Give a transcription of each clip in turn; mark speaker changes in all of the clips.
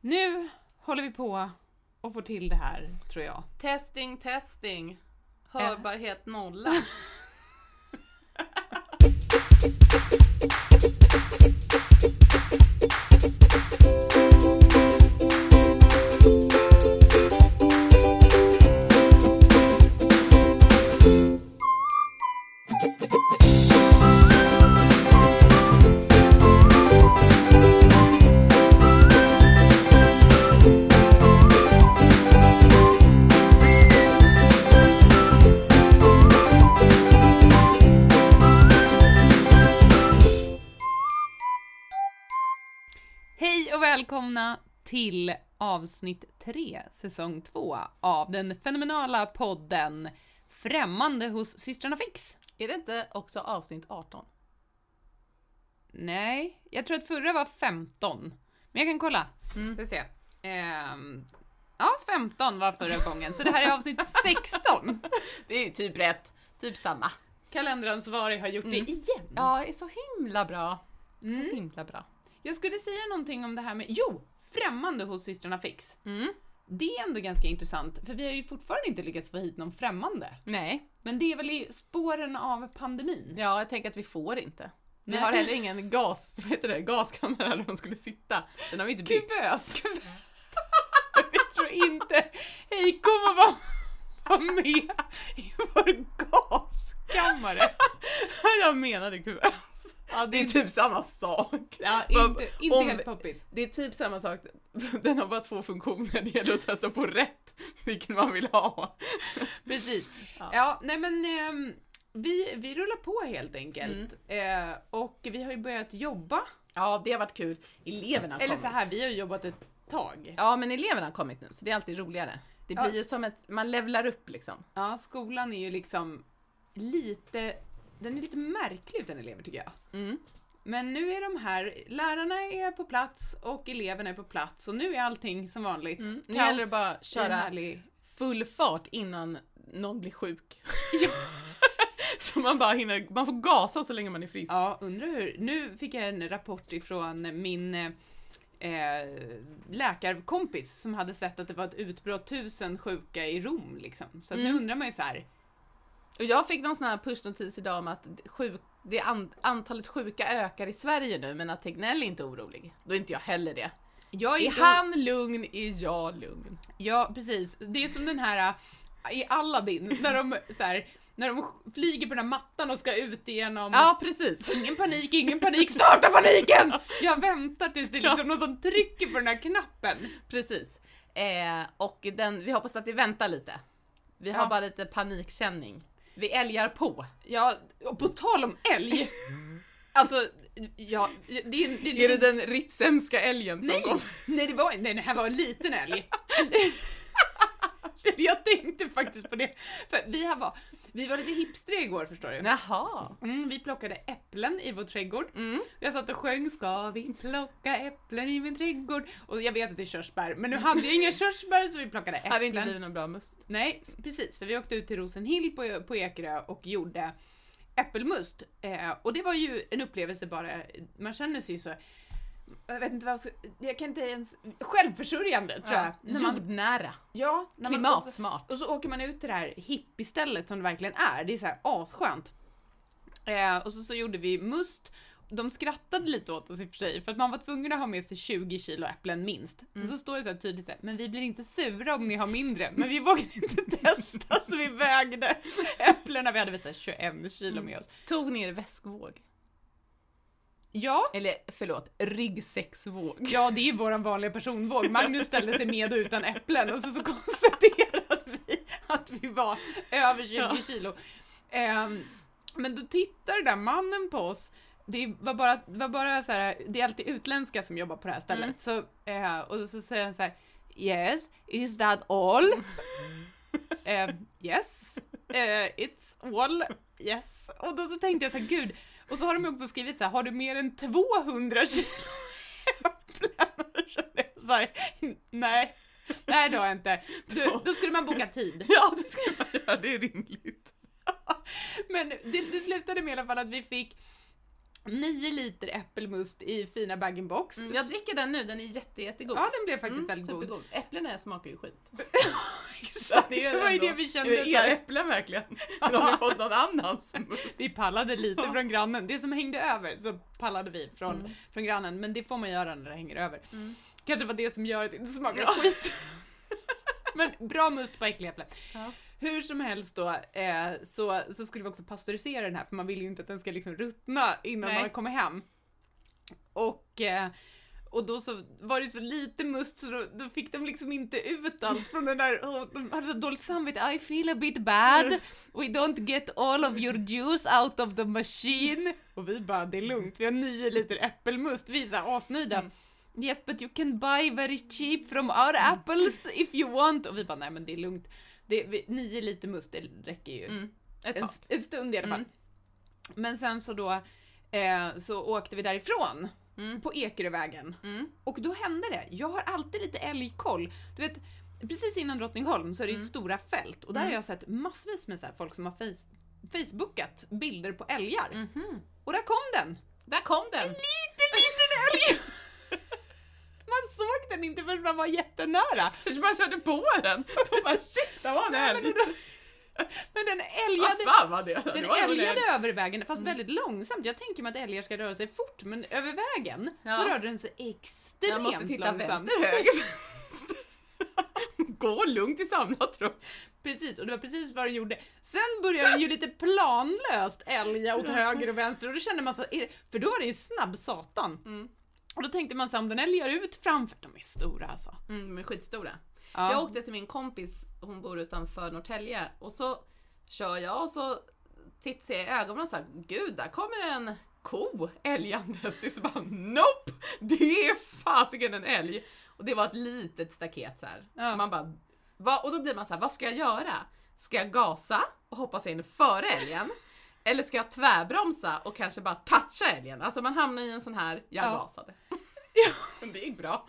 Speaker 1: Nu håller vi på och får till det här, tror jag.
Speaker 2: Testing, testing. Hörbarhet nolla.
Speaker 1: Hej och välkomna till avsnitt 3, säsong 2 av den fenomenala podden Främmande hos systrarna Fix.
Speaker 2: Är det inte också avsnitt 18?
Speaker 1: Nej, jag tror att förra var 15. Men jag kan kolla.
Speaker 2: Mm.
Speaker 1: Ska se. Ehm, ja, 15 var förra gången, så det här är avsnitt 16.
Speaker 2: Det är typ rätt. Typ samma.
Speaker 1: Kalenderansvarig har gjort
Speaker 2: Mm.
Speaker 1: det igen.
Speaker 2: Ja, det är så himla bra.
Speaker 1: Mm.
Speaker 2: Så himla bra.
Speaker 1: Jag skulle säga någonting om det här med, jo! Främmande hos systrarna Fix.
Speaker 2: Mm.
Speaker 1: Det är ändå ganska intressant, för vi har ju fortfarande inte lyckats få hit någon främmande.
Speaker 2: Nej,
Speaker 1: Men det är väl i spåren av pandemin?
Speaker 2: ja, jag tänker att vi får inte. Vi
Speaker 1: Nej.
Speaker 2: har heller ingen gas, vad heter det, gaskammare där de skulle sitta. Den har vi inte byggt.
Speaker 1: Kuvös! Jag tror inte hej kommer vara var med i vår gaskammare.
Speaker 2: jag menade kuvös.
Speaker 1: Ja,
Speaker 2: Det är typ samma sak.
Speaker 1: ja,
Speaker 2: Vad-
Speaker 1: inte, inte
Speaker 2: om-
Speaker 1: helt poppis.
Speaker 2: Det är typ samma sak, den har bara två funktioner, det gäller att sätta på rätt vilken man vill ha.
Speaker 1: Precis.
Speaker 2: Ja.
Speaker 1: Ja, nej men ehm, vi, vi rullar på helt enkelt. Eh, och vi har ju börjat jobba.
Speaker 2: Ja, det har varit kul. Eleverna har
Speaker 1: Eller
Speaker 2: kommit.
Speaker 1: så här, vi har ju jobbat ett tag.
Speaker 2: Ja, men eleverna har kommit nu, så det är alltid roligare. Det
Speaker 1: Ja.
Speaker 2: blir ju som ett, man levlar upp liksom.
Speaker 1: Ja, skolan är ju liksom lite, den är lite märklig utan elever tycker jag.
Speaker 2: Mm.
Speaker 1: Men nu är de här, lärarna är på plats och eleverna är på plats och nu är allting som vanligt.
Speaker 2: Mm. Nu
Speaker 1: Kaos
Speaker 2: gäller det bara att
Speaker 1: i en
Speaker 2: köra
Speaker 1: härlig-
Speaker 2: full fart innan någon blir sjuk. så man bara hinner, man får gasa så länge man är frisk.
Speaker 1: Ja, undrar hur. Nu fick jag en rapport ifrån min eh, läkarkompis som hade sett att det var ett utbrott tusen sjuka i Rom liksom. Så att
Speaker 2: Mm.
Speaker 1: nu undrar man ju så här.
Speaker 2: Och jag fick någon sån här pushnotis idag om att sjuk, det an, antalet sjuka ökar i Sverige nu, men att Tegnell är inte orolig. Då är inte jag heller det.
Speaker 1: Jag är
Speaker 2: Är
Speaker 1: inte,
Speaker 2: han lugn är jag
Speaker 1: Mm.
Speaker 2: lugn.
Speaker 1: Ja, precis. Det är som den här eh, i Aladdin när de så här, när de flyger på den här mattan och ska ut igenom
Speaker 2: Ja precis.
Speaker 1: Ingen panik, ingen panik, starta paniken! Jag väntar tills det är liksom någon som trycker på den här knappen.
Speaker 2: Precis. Eh, och den, vi hoppas att det väntar lite. Vi har
Speaker 1: Ja.
Speaker 2: bara lite panikkänning. Vi älgar på.
Speaker 1: Ja, och på tal om älg. Alltså, ja, det, det,
Speaker 2: Är det den ritsemska älgen som
Speaker 1: Nej!
Speaker 2: kom?
Speaker 1: Nej, det var nej, det här var en liten älg. För Jag tänkte faktiskt på det. För vi, här var, vi var lite hipstriga igår förstår du.
Speaker 2: Jaha.
Speaker 1: Mm, vi plockade äpplen i vår trädgård.
Speaker 2: Mm.
Speaker 1: Jag satt och sjöng Ska vi plocka äpplen i min trädgård? Och jag vet att det är körsbär, men nu hade jag inga körsbär så vi plockade äpplen.
Speaker 2: Hade inte blivit någon bra must.
Speaker 1: Nej, s- precis. För vi åkte ut till Rosenhill på, på Ekerö och gjorde äppelmust. Eh, och det var ju en upplevelse bara. Man känner sig ju så... Jag vet inte vad jag ska... Jag kan inte ens... Självförsörjande, tror jag. När man,
Speaker 2: Jordnära.
Speaker 1: ja, när man- och så-
Speaker 2: Klimatsmart.
Speaker 1: Och så åker man ut till det här hippiestället som det verkligen är. Det är så här asskönt. Eh, och så, så gjorde vi must. De skrattade lite åt oss i och för sig, för att man var tvungen att ha med sig 20 kilo äpplen minst. Och så står det så här tydligt så här, men vi blir inte sura om ni har mindre, men vi vågade inte testa så vi vägde äpplena. Vi hade väl så här 21 kilo med oss.
Speaker 2: Tog ner väskvåg.
Speaker 1: Ja,
Speaker 2: Eller förlåt, ryggsäcksvåg.
Speaker 1: ja det är våran vanliga personvåg. Magnus ställde sig med och utan äpplen och så, så konstaterade vi att vi var över 20
Speaker 2: Ja.
Speaker 1: kilo. Ehm, men då tittar den där mannen på oss. Det var bara, var bara så här, det är alltid utländska som jobbar på det här stället.
Speaker 2: Mm.
Speaker 1: Så, eh, och så säger han så här, Yes, is that all? Eh, yes, eh, it's all, yes. Och då så tänkte jag så här, gud. Och så har de ju också skrivit så här, har du mer än 200 kilo äpplen? Och så är jag Så här, nej, nej det har jag inte. Du, då skulle man boka tid.
Speaker 2: Ja, det skulle man göra. Det är rimligt.
Speaker 1: Men det, det slutade med i alla fall att vi fick 9 liter äppelmust i fina bag-in-box.
Speaker 2: Mm, jag dricker den nu, den är jätte, jättegod.
Speaker 1: Ja, den blev faktiskt
Speaker 2: Mm,
Speaker 1: väldigt god.
Speaker 2: supergod. Äpplena smakar ju skit.
Speaker 1: Exakt,
Speaker 2: Det är
Speaker 1: det var ju
Speaker 2: ändå-
Speaker 1: det vi
Speaker 2: Är
Speaker 1: kände.
Speaker 2: det
Speaker 1: så
Speaker 2: era
Speaker 1: här,
Speaker 2: äpplen verkligen? Eller har ni fått någon annans?
Speaker 1: Vi pallade lite
Speaker 2: Ja.
Speaker 1: från grannen. Det som hängde över så pallade vi från,
Speaker 2: Mm.
Speaker 1: från grannen. Men det får man göra när det hänger över.
Speaker 2: Mm.
Speaker 1: Kanske var det som gör att det inte smakar
Speaker 2: Ja.
Speaker 1: skit. Men bra must på äckliga äpplen.
Speaker 2: Ja.
Speaker 1: Hur som helst då eh, så, så skulle vi också pasteurisera den här för man vill ju inte att den ska liksom ruttna innan
Speaker 2: Nej.
Speaker 1: man kommer hem. Och, eh, och då så var det så lite must så då, då fick de liksom inte ut allt från den där, och de hade så dåligt samvete, I feel a bit bad, we don't get all of your juice out of the machine. Och vi bara, det är lugnt, vi har nio liter äppelmust, vi är så här asnöjda.
Speaker 2: Mm.
Speaker 1: Yes but you can buy very cheap from our apples if you want. Och vi bara, nej men det är lugnt. Det, vi, nio liter must, det räcker ju.
Speaker 2: Mm. Ett
Speaker 1: En,
Speaker 2: tag.
Speaker 1: st- en stund i alla fall.
Speaker 2: Mm.
Speaker 1: Men sen så då eh, så åkte vi därifrån
Speaker 2: Mm.
Speaker 1: på Ekerövägen.
Speaker 2: Mm.
Speaker 1: Och då hände det. Jag har alltid lite älgkoll. Du vet, precis innan Drottningholm så är det ju
Speaker 2: Mm.
Speaker 1: stora fält och där har
Speaker 2: Mm.
Speaker 1: jag sett massvis med så här folk som har face- Facebookat bilder på älgar.
Speaker 2: Mhm.
Speaker 1: Och där kom den!
Speaker 2: Där kom den!
Speaker 1: Liten, liten älg! Man såg den inte förrän man var jättenära.
Speaker 2: Kanske man körde på den! Då bara shit, där var en
Speaker 1: Nej, men,
Speaker 2: älg!
Speaker 1: men den
Speaker 2: Vad
Speaker 1: älgade
Speaker 2: fan var det? Det
Speaker 1: Den
Speaker 2: var nog en
Speaker 1: älgade
Speaker 2: älg. Mm.
Speaker 1: över vägen, fast väldigt långsamt. Jag tänker mig att älgar ska röra sig fort, men över vägen
Speaker 2: Ja.
Speaker 1: så rörde den sig extremt
Speaker 2: Jag måste titta
Speaker 1: långsamt.
Speaker 2: vänster, höger, vänster. Gå lugnt i samlat rum.
Speaker 1: Precis, och det var precis vad den gjorde. Sen började den ju lite planlöst älga åt
Speaker 2: Ja.
Speaker 1: höger och vänster och då kände man så, är det- för då var det ju snabb satan.
Speaker 2: Mm.
Speaker 1: Och då tänkte man så här, om den älgar ut framför, de är stora alltså.
Speaker 2: Mm, de är skitstora.
Speaker 1: Ja.
Speaker 2: Jag åkte till min kompis, hon bor utanför Norrtälje och så kör jag och så tittar jag i ögonen och så här, gud där kommer en ko älgandes. Det är så bara nope! Det är fasiken en älg! Och det var ett litet staket så här.
Speaker 1: Ja.
Speaker 2: Man bara, va? Och då blir man så här, vad ska jag göra? Ska jag gasa och hoppas in före älgen? Eller ska jag tvärbromsa och kanske bara toucha älgen? Alltså man hamnar i en sån här, jag
Speaker 1: Ja.
Speaker 2: gasade. Men det gick bra.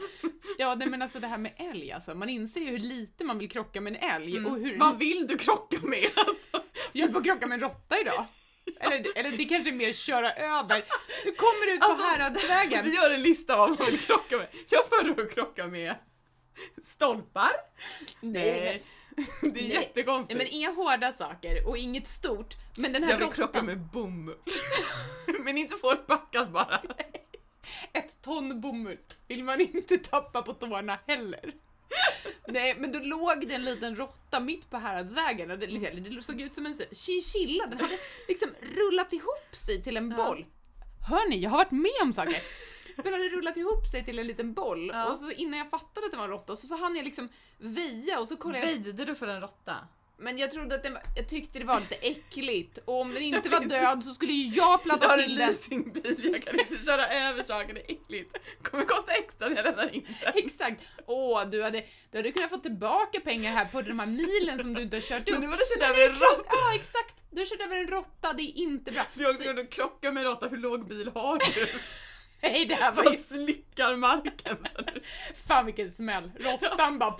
Speaker 1: Ja, nej, men alltså det här med älg alltså, man inser ju hur lite man vill krocka med en älg
Speaker 2: Mm.
Speaker 1: och hur...
Speaker 2: Vad vill du krocka med? Alltså,
Speaker 1: Jag höll Mm. på att krocka med en råtta idag. Eller, eller det kanske är mer köra över. Du kommer ut på
Speaker 2: Alltså,
Speaker 1: Häradsvägen.
Speaker 2: vi gör en lista av vad man vill krocka med. Jag föredrar att krocka med stolpar. Eh,
Speaker 1: Nej,
Speaker 2: Det är
Speaker 1: Nej.
Speaker 2: jättekonstigt.
Speaker 1: Nej, men inga hårda saker och inget stort. Men den här
Speaker 2: jag vill
Speaker 1: råttan-
Speaker 2: krocka med bomull. men inte få det packat bara.
Speaker 1: ett ton bomull vill man inte tappa på tårna heller. Nej, men då låg det en liten råtta mitt på Häradsvägen och det, eller det såg ut som en chinchilla. Den hade liksom rullat ihop sig till en
Speaker 2: Ja.
Speaker 1: boll. Hör ni, jag har varit med om saker. Den hade rullat ihop sig till en liten boll
Speaker 2: Ja.
Speaker 1: och så innan jag fattade att det var en råtta så, så hann jag liksom väja och så kollade jag.
Speaker 2: Väjde du för en råtta?
Speaker 1: Men jag trodde att den var, jag tyckte det var lite äckligt och om den inte var död så skulle ju jag
Speaker 2: Jag
Speaker 1: platta
Speaker 2: har en
Speaker 1: till den.
Speaker 2: leasingbil, jag kan inte köra över saker, det är äckligt. kommer kosta extra när jag lämnar in den.
Speaker 1: Exakt! Åh, du hade, du hade kunnat få tillbaka pengar här på de här milen som du inte har kört
Speaker 2: Men
Speaker 1: upp.
Speaker 2: nu var det kört över en råtta.
Speaker 1: Ja, exakt! Du har kört över en råtta, det är inte bra.
Speaker 2: Jag skulle krocka med en råtta, hur låg bil har du?
Speaker 1: Nej, det här var ju...
Speaker 2: Vad slickar marken? Så du
Speaker 1: Fan vilken smäll! Råttan bara...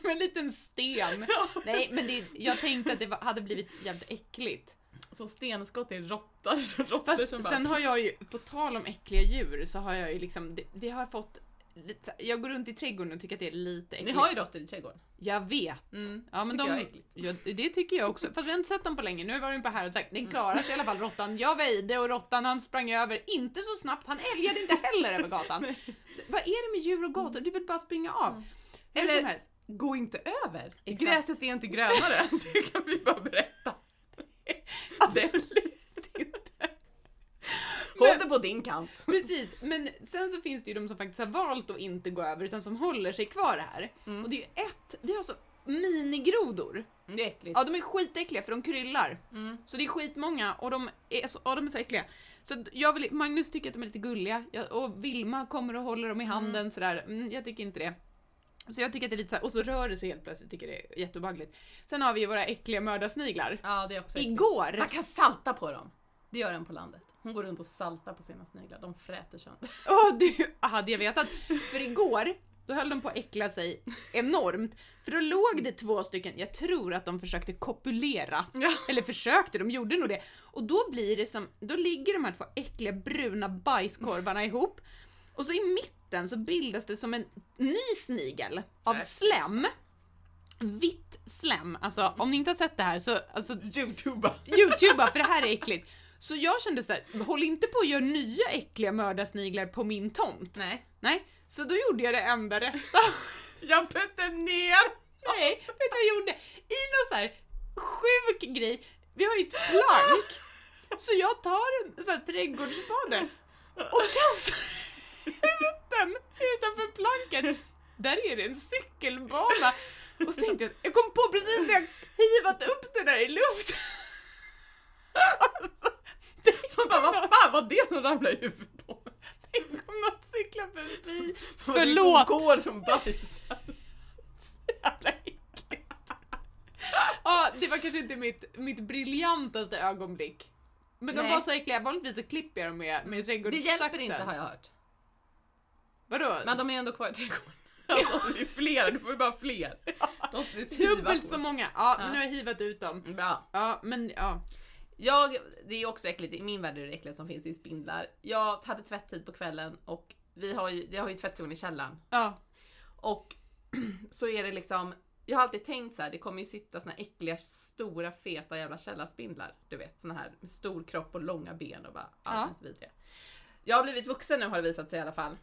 Speaker 1: som en liten sten. Nej, men det, jag tänkte att det var, hade blivit jävligt äckligt.
Speaker 2: Så Alltså, stenskott är råttor så råttor
Speaker 1: Fast
Speaker 2: som bara...
Speaker 1: sen har jag ju, på tal om äckliga djur, så har jag ju liksom, det, vi har fått lite, så här- jag går runt i trädgården och tycker att det är lite
Speaker 2: Ni
Speaker 1: äckligt.
Speaker 2: har ju råttor i trädgården.
Speaker 1: Jag vet.
Speaker 2: Mm,
Speaker 1: ja, men
Speaker 2: tycker
Speaker 1: de,
Speaker 2: jag är äckligt.
Speaker 1: Ja, det tycker jag också. Fast vi har inte sett dem på länge. Nu var den på här och sagt,
Speaker 2: Mm.
Speaker 1: den klarade sig i alla fall råttan. Jag väjde och råttan han sprang över. Inte så snabbt, han älgade inte heller över gatan. Vad är det med djur och gator? Det vill bara att springa av.
Speaker 2: Mm.
Speaker 1: Hur
Speaker 2: Eller-
Speaker 1: som helst.
Speaker 2: Gå inte över!
Speaker 1: Exakt.
Speaker 2: Gräset är inte grönare, det kan vi bara berätta.
Speaker 1: Absolut inte.
Speaker 2: Håll
Speaker 1: Men-
Speaker 2: det på din kant.
Speaker 1: Precis, men sen så finns det ju de som faktiskt har valt att inte gå över utan som håller sig kvar här.
Speaker 2: Mm.
Speaker 1: Och det är ju ett, vi har så minigrodor.
Speaker 2: Det är äckligt.
Speaker 1: Ja, de är skitäckliga för de kryllar.
Speaker 2: Mm.
Speaker 1: Så det är skitmånga och de är så, ja, de är så äckliga. Så att jag vill, Magnus tycker att de är lite gulliga jag, och Vilma kommer och håller dem i handen sådär. Mm, jag tycker inte det. Så jag tycker att det är lite såhär, och så rör det sig helt plötsligt, tycker det är jätteobehagligt. Sen har vi ju våra äckliga mördarsniglar.
Speaker 2: Ja, det är också äckligt.
Speaker 1: Igår!
Speaker 2: Man kan salta på dem. Det gör en på landet. Hon går runt och saltar på sina sniglar, de fräter sönder.
Speaker 1: Åh du, hade jag vetat. För igår Då höll de på att äckla sig enormt. För då låg det två stycken, jag tror att de försökte kopulera.
Speaker 2: Ja.
Speaker 1: Eller försökte, de gjorde nog det. Och då blir det som, då ligger de här två äckliga bruna bajskorvarna ihop. Och så i mitten så bildas det som en ny snigel av
Speaker 2: Nej.
Speaker 1: slem. Vitt slem. Alltså om ni inte har sett det här så, alltså
Speaker 2: Youtuba.
Speaker 1: youtuba för det här är äckligt. Så jag kände så här, håll inte på och gör nya äckliga mördarsniglar på min tomt.
Speaker 2: Nej.
Speaker 1: Nej, så då gjorde jag det enda rätta.
Speaker 2: Jag putte ner!
Speaker 1: Nej, vet du vad jag gjorde? I någon så här sjuk grej, vi har ju ett plank, så jag tar en så här trädgårdsspade och kastar ut den utanför planket. Där är det en cykelbana. Och så tänkte jag, jag kom på precis när jag hivat upp den där i Alltså, luften.
Speaker 2: Man bara, vad fan var det som ramlade i huvudet på mig?
Speaker 1: Tänk om någon cyklar förbi.
Speaker 2: Det var en
Speaker 1: Förlåt.
Speaker 2: Går som bajsar.
Speaker 1: Jävla äckligt. Ja, det var kanske inte mitt, mitt briljantaste ögonblick. Men de
Speaker 2: Nej.
Speaker 1: var så äckliga, vanligtvis så klipper jag dem med, med
Speaker 2: Det
Speaker 1: trädgårdssaxen.
Speaker 2: hjälper inte har jag hört.
Speaker 1: Vadå?
Speaker 2: Men de är ändå kvar i trädgården. Alltså, det är fler, du får ju bara fler. De ska ju skriva
Speaker 1: Dubbelt
Speaker 2: på.
Speaker 1: så många. Ja,
Speaker 2: Ja.
Speaker 1: men nu har jag hivat ut dem.
Speaker 2: Bra.
Speaker 1: Ja, men ja.
Speaker 2: Jag, det är också äckligt, i min värld är det äckliga som finns i spindlar. Jag hade tvätttid på kvällen och vi har ju, jag har ju tvättstugan i källaren.
Speaker 1: ja.
Speaker 2: Och så är det liksom, jag har alltid tänkt så här, det kommer ju sitta såna äckliga stora feta jävla källarspindlar. Du vet såna här med stor kropp och långa ben och bara allmänt vidriga. Jag har blivit vuxen nu har det visat sig i alla fall.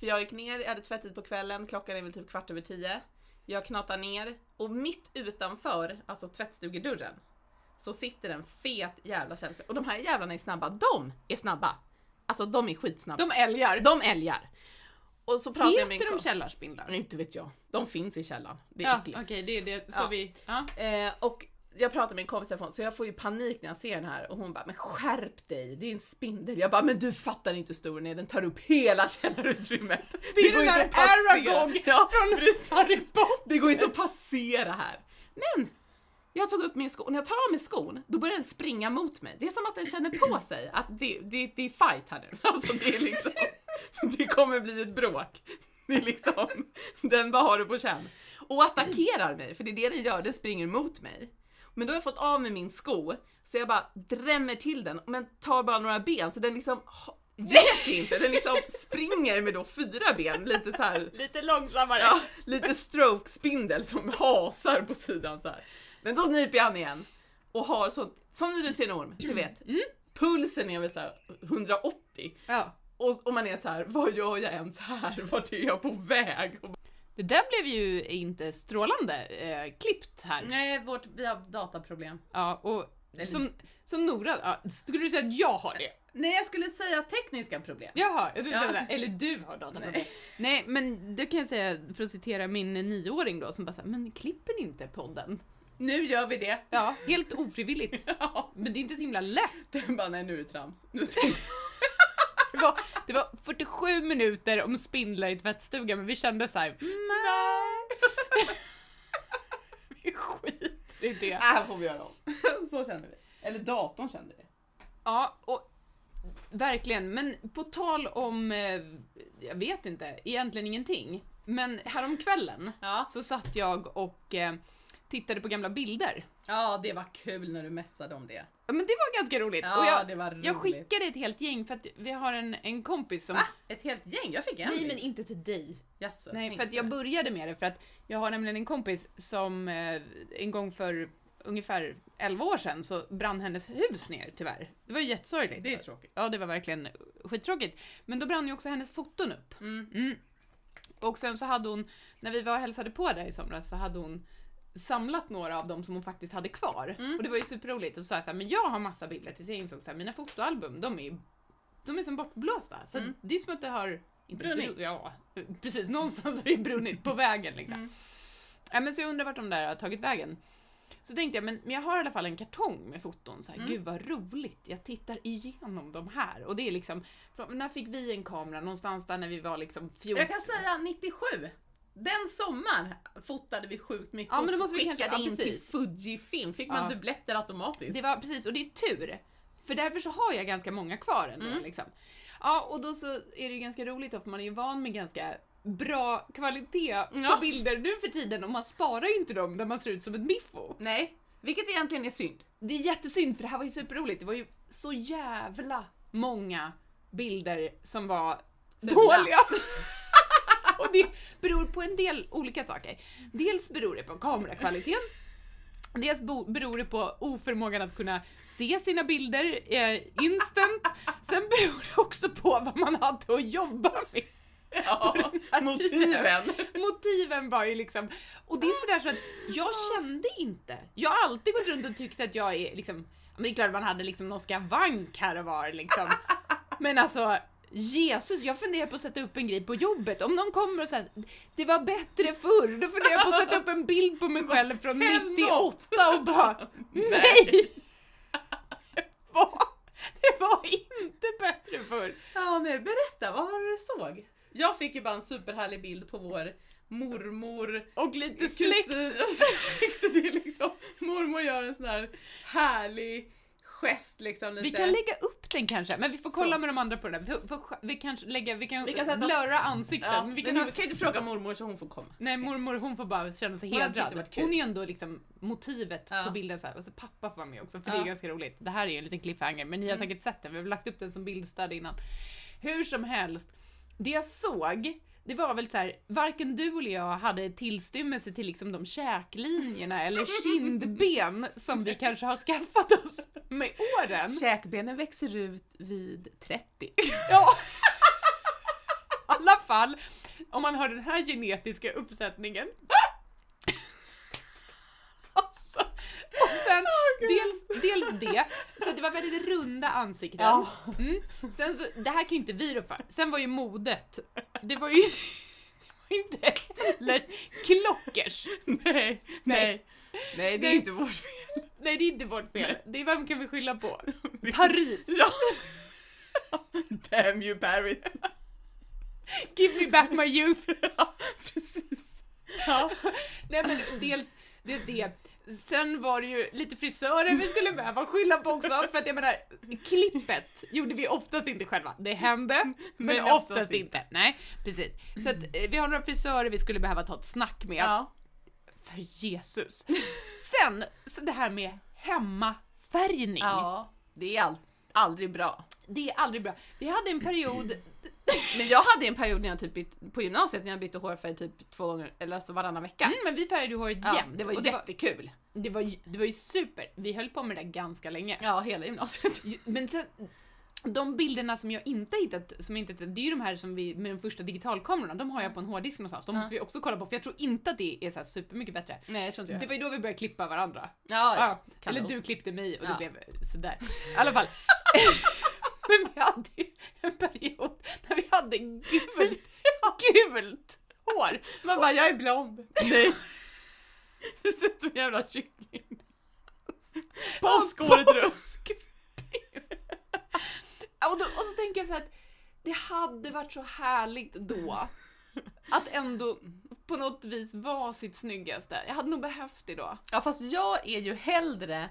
Speaker 2: För jag gick ner, jag hade tvättit på kvällen, klockan är väl typ kvart över tio. Jag knatar ner och mitt utanför, alltså tvättstugedörren, så sitter en fet jävla källspindel. Och de här jävlarna är snabba, de är snabba! Alltså de är skitsnabba.
Speaker 1: De älgar.
Speaker 2: De älgar! Och så pratar jag med en
Speaker 1: Heter de
Speaker 2: kom-
Speaker 1: källarspindlar?
Speaker 2: inte vet jag. De finns i källan. Det är
Speaker 1: Ja,
Speaker 2: äckligt.
Speaker 1: okej, det är det. Så
Speaker 2: Ja.
Speaker 1: vi... Ja.
Speaker 2: Eh, och jag pratar med en kompis härifrån så jag får ju panik när jag ser den här och hon bara “men skärp dig, det är en spindel”. Jag bara “men du fattar inte hur stor den är, den tar upp hela källarutrymmet”.
Speaker 1: Det är
Speaker 2: går
Speaker 1: den
Speaker 2: inte
Speaker 1: där
Speaker 2: att passera.
Speaker 1: Aragog från Harry Potter.
Speaker 2: Det går inte att passera här. Men! Jag tog upp min sko, och när jag tar av mig skon, då börjar den springa mot mig. Det är som att den känner på sig att det, det, det är fight här nu. Alltså det är liksom, det kommer bli ett bråk. Det är liksom, den bara har det på känn. Och attackerar mig, för det är det den gör, den springer mot mig. Men då har jag fått av mig min sko, så jag bara drämmer till den, men tar bara några ben, så den liksom ha- ger sig inte. Den liksom springer med då fyra ben, lite så här
Speaker 1: Lite långsammare.
Speaker 2: Ja, lite stroke-spindel som hasar på sidan så här. Men då nyper jag han igen och har sånt, som när du ser en orm, du vet. Pulsen är väl så här 180
Speaker 1: Ja.
Speaker 2: och, och man är så här, vad gör jag ens här? Vart är jag på väg? Och,
Speaker 1: Det där blev ju inte strålande eh, klippt här.
Speaker 2: nej, vårt, vi har dataproblem.
Speaker 1: Ja, och som, som Nora, ja, skulle du säga att jag har det?
Speaker 2: Nej, jag skulle säga tekniska problem.
Speaker 1: Jaha, jag
Speaker 2: Ja.
Speaker 1: trodde ja. eller du har dataproblem. Nej. Nej, men det kan jag säga för att citera min nioåring då som bara såhär, men klipper ni inte podden?
Speaker 2: Nu gör vi det.
Speaker 1: Ja, helt ofrivilligt.
Speaker 2: Ja.
Speaker 1: Men det är inte så himla lätt.
Speaker 2: Den bara, nej nu är det trams. Nu stänger
Speaker 1: Det var, det var 47 minuter om spindlar i tvättstugan, men vi kände såhär, nej.
Speaker 2: vi skit.
Speaker 1: Det är det.
Speaker 2: Det Äh, här får vi göra om. Så känner vi. Eller datorn kände det.
Speaker 1: Ja, och verkligen. Men på tal om, eh, jag vet inte, egentligen ingenting. Men häromkvällen
Speaker 2: Ja.
Speaker 1: så satt jag och eh, tittade på gamla bilder.
Speaker 2: Ja, det var kul när du mässade om det.
Speaker 1: Ja, Men det var ganska roligt.
Speaker 2: Ja,
Speaker 1: och jag,
Speaker 2: det var roligt.
Speaker 1: jag skickade ett helt gäng för att vi har en, en kompis som...
Speaker 2: Va? Ett helt gäng? Jag fick en
Speaker 1: Nej
Speaker 2: bild.
Speaker 1: men inte till dig.
Speaker 2: Jaså,
Speaker 1: Nej,
Speaker 2: tänk
Speaker 1: för att
Speaker 2: på
Speaker 1: jag
Speaker 2: det.
Speaker 1: började med det för att jag har nämligen en kompis som eh, en gång för ungefär 11 år sedan så brann hennes hus ner tyvärr. Det var ju jättesorgligt.
Speaker 2: Det är tråkigt.
Speaker 1: Ja, det var verkligen skittråkigt. Men då brann ju också hennes foton upp.
Speaker 2: Mm.
Speaker 1: Mm. Och sen så hade hon, när vi var och hälsade på där i somras så hade hon samlat några av dem som hon faktiskt hade kvar.
Speaker 2: Mm.
Speaker 1: Och det var ju superroligt. Och så sa jag så här, men jag har massa bilder tills jag insåg så här, mina fotoalbum de är, de är som bortblåsta. Så
Speaker 2: Mm.
Speaker 1: det är som att det har inte
Speaker 2: Brunnit.
Speaker 1: bru- ja, precis. Någonstans har det brunnit på vägen liksom.
Speaker 2: Mm.
Speaker 1: Ja, men så jag undrar vart de där har tagit vägen. Så tänkte jag, men, men jag har i alla fall en kartong med foton. Så här,
Speaker 2: Mm.
Speaker 1: Gud vad roligt, jag tittar igenom de här. Och det är liksom, från, när fick vi en kamera? Någonstans där när vi var liksom 14.
Speaker 2: Jag kan säga 97. Den sommaren fotade vi sjukt mycket
Speaker 1: Ja, men
Speaker 2: och
Speaker 1: då måste vi
Speaker 2: skickade
Speaker 1: kanske- ja,
Speaker 2: in till
Speaker 1: precis.
Speaker 2: Fujifilm. Fick man
Speaker 1: Ja.
Speaker 2: dubbletter automatiskt?
Speaker 1: Det var precis, och det är tur. För därför så har jag ganska många kvar ändå.
Speaker 2: Mm.
Speaker 1: Liksom. Ja, och då så är det ju ganska roligt då, för man är ju van med ganska bra kvalitet på
Speaker 2: Ja.
Speaker 1: bilder nu för tiden och man sparar ju inte dem där man ser ut som ett miffo.
Speaker 2: Nej, vilket egentligen är synd.
Speaker 1: Det är jättesynd för det här var ju superroligt. Det var ju så jävla många bilder som var
Speaker 2: Fula.
Speaker 1: dåliga. och det beror på en del olika saker. Dels beror det på kamerakvaliteten. Dels bo- beror det på oförmågan att kunna se sina bilder eh, instant. Sen beror det också på vad man hade att jobba med.
Speaker 2: Ja,
Speaker 1: motiven. Motiven var ju liksom, och det är sådär så att jag kände inte, jag har alltid gått runt och tyckt att jag är liksom, ja, men det är klart man hade liksom någon skavank här och var liksom. Men alltså Jesus, jag funderar på att sätta upp en grej på jobbet. Om någon kommer och säger det var bättre förr, då funderar jag på att sätta upp en bild på mig själv från
Speaker 2: Häll
Speaker 1: 98 och bara nej!
Speaker 2: Nej.
Speaker 1: Det var- det var inte bättre förr.
Speaker 2: Ja, men berätta, vad var det du såg? Jag fick ju bara en superhärlig bild på vår mormor
Speaker 1: Och lite släkt.
Speaker 2: kusin och släkt. Det är liksom, mormor gör en sån här härlig gest liksom lite.
Speaker 1: Vi kan lägga upp den kanske, men vi får kolla
Speaker 2: Så.
Speaker 1: med de andra på den där. Vi, får, vi, kan, lägga, vi, kan
Speaker 2: Vi kan sätta-
Speaker 1: blurra ansikten.
Speaker 2: ja,
Speaker 1: men vi
Speaker 2: vi
Speaker 1: kan ha,
Speaker 2: kan inte fråga mormor så hon får komma.
Speaker 1: nej, mormor hon får bara känna sig
Speaker 2: Hon hade tyckt
Speaker 1: hedrad.
Speaker 2: det varit kul.
Speaker 1: Hon är ju ändå liksom motivet
Speaker 2: Ja.
Speaker 1: på bilden. Så här. Och så pappa får vara med också, för det
Speaker 2: Ja.
Speaker 1: är ganska roligt. Det här är ju en liten cliffhanger, men ni har
Speaker 2: Mm.
Speaker 1: säkert sett den. Vi har lagt upp den som bildstad innan. Hur som helst, det jag såg det var väl så här, varken du eller jag hade tillstymmelse till liksom de käklinjerna eller kindben som vi kanske har skaffat oss med åren.
Speaker 2: Mm. Käkbenen växer ut vid 30.
Speaker 1: Ja. I alla fall, om man har den här genetiska uppsättningen. Alltså, och sen dels, dels det, så det var väldigt runda ansikten.
Speaker 2: Ja.
Speaker 1: Mm. Sen så, det här kan ju inte vi rå för. Sen var ju modet, det var ju det var inte heller klockers.
Speaker 2: nej, nej, nej det är
Speaker 1: Nej.
Speaker 2: inte vårt fel.
Speaker 1: Nej det är inte vårt fel. Det är vem kan vi skylla på? Paris!
Speaker 2: Ja. Damn you Paris.
Speaker 1: Give me back my youth!
Speaker 2: ja, precis.
Speaker 1: Ja. Nej men dels, dels det. Sen var det ju lite frisörer vi skulle behöva skylla på också för att jag menar, klippet gjorde vi oftast inte själva. Det hände, men,
Speaker 2: Men
Speaker 1: oftast,
Speaker 2: oftast
Speaker 1: inte. Nej, precis. Så att eh, vi har några frisörer vi skulle behöva ta ett snack med. För Jesus. Sen, så det här med hemmafärgning.
Speaker 2: ja. Det är all, aldrig bra.
Speaker 1: Det är aldrig bra. Vi hade en period,
Speaker 2: Men jag hade en period när jag typ bytt, på gymnasiet när jag bytte hårfärg typ två gånger, eller alltså varannan vecka.
Speaker 1: mm, men vi färgade ju håret
Speaker 2: Ja,
Speaker 1: jämt.
Speaker 2: det var
Speaker 1: och
Speaker 2: jättekul.
Speaker 1: det, var, ju- det var ju super. Vi höll på med det där ganska länge.
Speaker 2: Ja, hela gymnasiet.
Speaker 1: Ju- Men sen, de bilderna som jag inte har hittat, som jag inte, hittat, det är ju de här som vi, med de första digitalkamerorna, de har jag på en hårddisk någonstans. De
Speaker 2: Ja.
Speaker 1: måste vi också kolla på för jag tror inte att det är så här supermycket bättre.
Speaker 2: Nej, jag tror
Speaker 1: Det
Speaker 2: inte
Speaker 1: var ju då vi började klippa varandra.
Speaker 2: Ja, ja.
Speaker 1: Ja, eller
Speaker 2: kanon.
Speaker 1: du klippte mig och
Speaker 2: Ja.
Speaker 1: det blev sådär. I alla fall. Men vi hade ju en period när vi hade gult, gult hår.
Speaker 2: Man bara, jag är blond. Nej. Du ser ut som en jävla kyckling. Påsk året runt.
Speaker 1: Och, då, och så tänker jag så här att det hade varit så härligt då att ändå på något vis vara sitt snyggaste. Jag hade nog behövt det då.
Speaker 2: Ja, fast jag är ju hellre,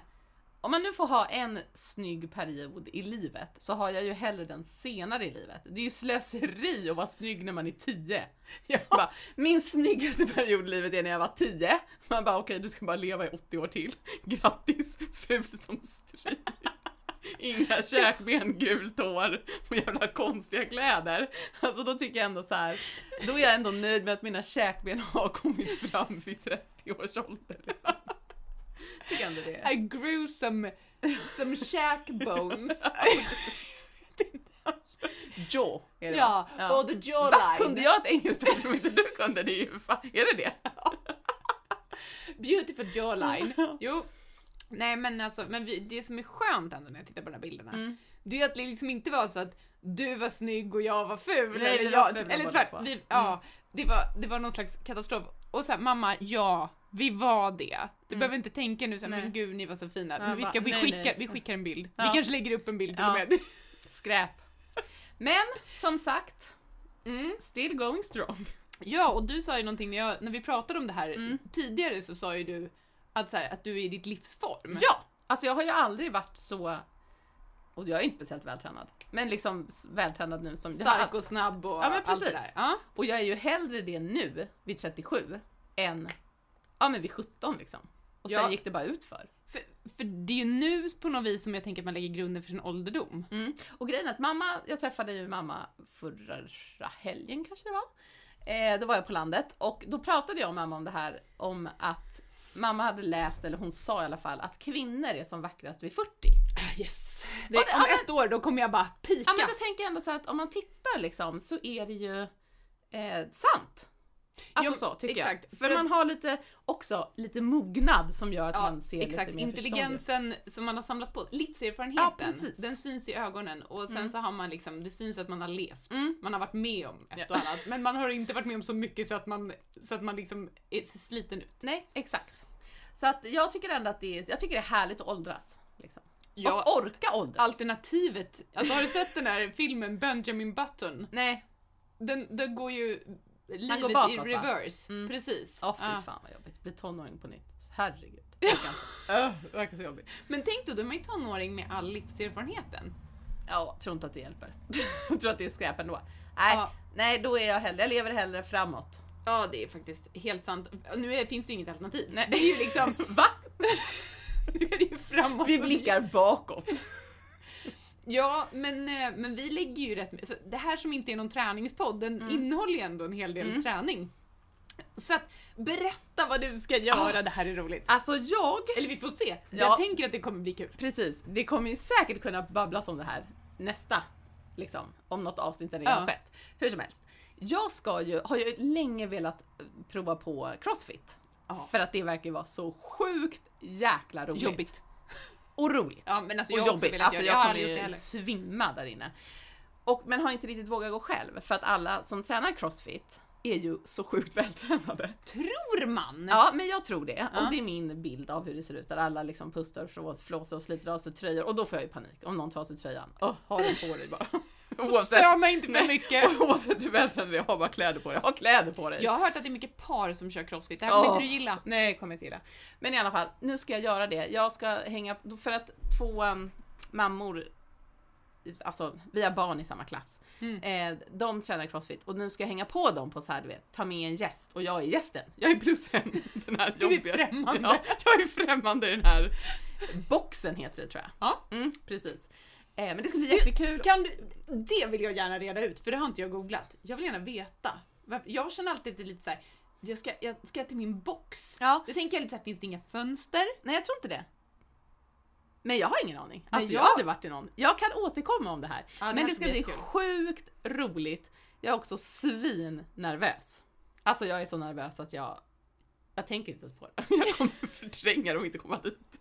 Speaker 2: om man nu får ha en snygg period i livet, så har jag ju hellre den senare i livet. Det är ju slöseri att vara snygg när man är 10. Jag bara, min snyggaste period i livet är när jag var 10. Man bara, okej du ska bara leva i 80 år till. Grattis, ful som stryk. Inga käkben, gult hår och jävla konstiga kläder. Alltså då tycker jag ändå så här. då är jag ändå nöjd med att mina käkben har kommit fram vid 30 års ålder. Liksom. Tycker ändå det.
Speaker 1: I grew some, some shack bones.
Speaker 2: Jaw är det
Speaker 1: ja,
Speaker 2: va? Ja.
Speaker 1: och the
Speaker 2: Va?
Speaker 1: jawline.
Speaker 2: Kunde jag ett engelskt ord som inte du kunde? Det är ju fan, är det det?
Speaker 1: Beautiful jawline. Jo. Nej men alltså, men vi, det som är skönt ändå när jag tittar på de här bilderna,
Speaker 2: Mm.
Speaker 1: det är att det liksom inte var så att du var snygg och jag var ful.
Speaker 2: Nej,
Speaker 1: eller
Speaker 2: vi var
Speaker 1: jag,
Speaker 2: fula
Speaker 1: eller
Speaker 2: båda
Speaker 1: tvärt,
Speaker 2: två. Mm.
Speaker 1: vi, ja, det, var, det var någon slags katastrof. Och så här, mamma, ja, vi var det. Du behöver inte tänka nu så här,
Speaker 2: Mm. Nej.
Speaker 1: men gud ni var så fina.
Speaker 2: Ja,
Speaker 1: men vi,
Speaker 2: bara,
Speaker 1: ska, vi,
Speaker 2: nej,
Speaker 1: skickar,
Speaker 2: nej.
Speaker 1: vi skickar en bild.
Speaker 2: Ja.
Speaker 1: Vi kanske lägger upp en bild till och
Speaker 2: Ja.
Speaker 1: med.
Speaker 2: Skräp. Men som sagt,
Speaker 1: Mm.
Speaker 2: still going strong.
Speaker 1: Ja, och du sa ju någonting när, jag, när vi pratade om det här
Speaker 2: Mm.
Speaker 1: tidigare så sa ju du att, så här, att du är i ditt livsform.
Speaker 2: Ja, alltså jag har ju aldrig varit så Och jag är inte speciellt vältränad. Men liksom s- vältränad nu som
Speaker 1: Stark
Speaker 2: jag
Speaker 1: och snabb och
Speaker 2: Ja, men
Speaker 1: allt det
Speaker 2: precis.
Speaker 1: där. Ja.
Speaker 2: Och jag är ju hellre det nu, vid 37, än ja, men vid 17 liksom. Och
Speaker 1: Ja.
Speaker 2: sen gick det bara ut för.
Speaker 1: För, för det är ju nu på något vis som jag tänker att man lägger grunden för sin ålderdom.
Speaker 2: Mm. Och grejen är att mamma, jag träffade ju mamma förra helgen kanske det var. Eh, då var jag på landet och då pratade jag och mamma om det här om att mamma hade läst, eller hon sa i alla fall, att kvinnor är som vackrast vid 40.
Speaker 1: Yes!
Speaker 2: Ah, Ja,
Speaker 1: Det,
Speaker 2: men-
Speaker 1: om
Speaker 2: ja,
Speaker 1: ett år då kommer jag bara pika.
Speaker 2: Ja men då tänker jag ändå så här att om man tittar liksom så är det ju eh, sant. Alltså
Speaker 1: Jo,
Speaker 2: så tycker
Speaker 1: exakt.
Speaker 2: jag. För
Speaker 1: För-
Speaker 2: man har lite, också lite mognad som gör att
Speaker 1: Ja,
Speaker 2: man ser
Speaker 1: exakt.
Speaker 2: lite mer förståndig ut.
Speaker 1: Intelligensen som man har samlat på, livserfarenheten,
Speaker 2: Ja, precis.
Speaker 1: den syns i ögonen och sen
Speaker 2: Mm.
Speaker 1: så har man liksom, det syns att man har levt.
Speaker 2: Mm.
Speaker 1: Man har varit med om ett och annat, men man har inte varit med om så mycket så att man, så att man liksom är, ser sliten ut.
Speaker 2: Nej, exakt. Så att jag tycker ändå att det är, jag tycker det är härligt att åldras. Liksom.
Speaker 1: Ja.
Speaker 2: Och orka åldras.
Speaker 1: Alternativet, alltså har du sett den här filmen Benjamin Button?
Speaker 2: Nej.
Speaker 1: Den, den går ju livet
Speaker 2: bakåt,
Speaker 1: i
Speaker 2: va?
Speaker 1: reverse.
Speaker 2: Mm.
Speaker 1: Precis.
Speaker 2: Åh fy
Speaker 1: Ja.
Speaker 2: fan vad jobbigt. Bli tonåring på nytt. Herregud.
Speaker 1: Öh, det verkar så jobbigt. Men tänk då, då är man ju tonåring med all livserfarenheten.
Speaker 2: Ja, tror inte att det hjälper. tror att det är skräp ändå. Nej,
Speaker 1: Ja.
Speaker 2: nej då är jag hellre, jag lever hellre framåt.
Speaker 1: Ja, det är faktiskt helt sant. Nu är, finns det ju inget alternativ. Det är ju liksom, va? nu är det ju framåt.
Speaker 2: Vi blickar bakåt.
Speaker 1: Ja, men, eh, men vi lägger ju rätt mycket. Det här som inte är någon träningspodd, den innehåller ju ändå en hel del
Speaker 2: Mm.
Speaker 1: träning. Så att, berätta vad du ska göra, det här är roligt.
Speaker 2: Alltså jag,
Speaker 1: Eller vi får se.
Speaker 2: Ja.
Speaker 1: Jag tänker att det kommer bli kul.
Speaker 2: precis, det kommer ju säkert kunna babblas om det här nästa, liksom, om något avsnitt redan
Speaker 1: Ja.
Speaker 2: har skett. Hur som helst. Jag ska ju, har ju länge velat eh, prova på crossfit.
Speaker 1: Ja.
Speaker 2: För att det verkar ju vara så sjukt jäkla roligt.
Speaker 1: Jobbigt.
Speaker 2: Och roligt.
Speaker 1: Ja, men alltså
Speaker 2: och
Speaker 1: jag har också
Speaker 2: jobbigt.
Speaker 1: velat
Speaker 2: Alltså
Speaker 1: göra
Speaker 2: jag
Speaker 1: det.
Speaker 2: kommer
Speaker 1: aldrig gjort det
Speaker 2: ju
Speaker 1: heller.
Speaker 2: svimma där inne. Och, men har inte riktigt vågat gå själv för att alla som tränar crossfit är ju så sjukt vältränade.
Speaker 1: Tror man?
Speaker 2: Ja, men jag tror det.
Speaker 1: Ja.
Speaker 2: Och det är min bild av hur det ser ut. Där alla liksom pustar och flås- flåsar och sliter av sig tröjor. Och då får jag ju panik om någon tar av sig tröjan. Åh, ha den på dig bara. Oavsett,
Speaker 1: Stöna inte för
Speaker 2: Nej.
Speaker 1: mycket.
Speaker 2: oavsett hur vältränad du är, ha bara kläder på dig. Ha kläder på dig.
Speaker 1: Jag har hört att det är mycket par som kör crossfit, det här kommer
Speaker 2: Ja.
Speaker 1: inte du gilla.
Speaker 2: Nej, kommer inte gilla. Men i alla fall, nu ska jag göra det. Jag ska hänga, för att två um, mammor, alltså vi har barn i samma klass,
Speaker 1: Mm.
Speaker 2: eh, de tränar crossfit och nu ska jag hänga på dem på så här, du vet, ta med en gäst och jag är gästen. Jag är plussen i den här
Speaker 1: Du är
Speaker 2: jobbiga-
Speaker 1: främmande.
Speaker 2: Ja, jag är främmande i den här boxen heter det tror jag.
Speaker 1: Ja.
Speaker 2: Mm, precis. Eh, men det ska bli jättekul.
Speaker 1: Kan du, det vill jag gärna reda ut, för det har inte jag googlat. Jag vill gärna veta. Varför- Jag känner alltid att det är lite så här. Jag ska, jag ska till min box.
Speaker 2: Ja.
Speaker 1: Då tänker jag lite såhär, finns det inga fönster?
Speaker 2: Nej, jag tror inte det. Men jag har ingen aning.
Speaker 1: Men
Speaker 2: Alltså jag...
Speaker 1: jag-
Speaker 2: har aldrig varit i någon. Jag kan återkomma om det här.
Speaker 1: Ja, det
Speaker 2: Men
Speaker 1: här ska
Speaker 2: det ska
Speaker 1: bli
Speaker 2: bli
Speaker 1: jättekul.
Speaker 2: sjukt roligt. Jag är också svinnervös. Alltså jag är så nervös att jag... Jag tänker inte ens på det. Jag kommer förtränga det och inte komma dit.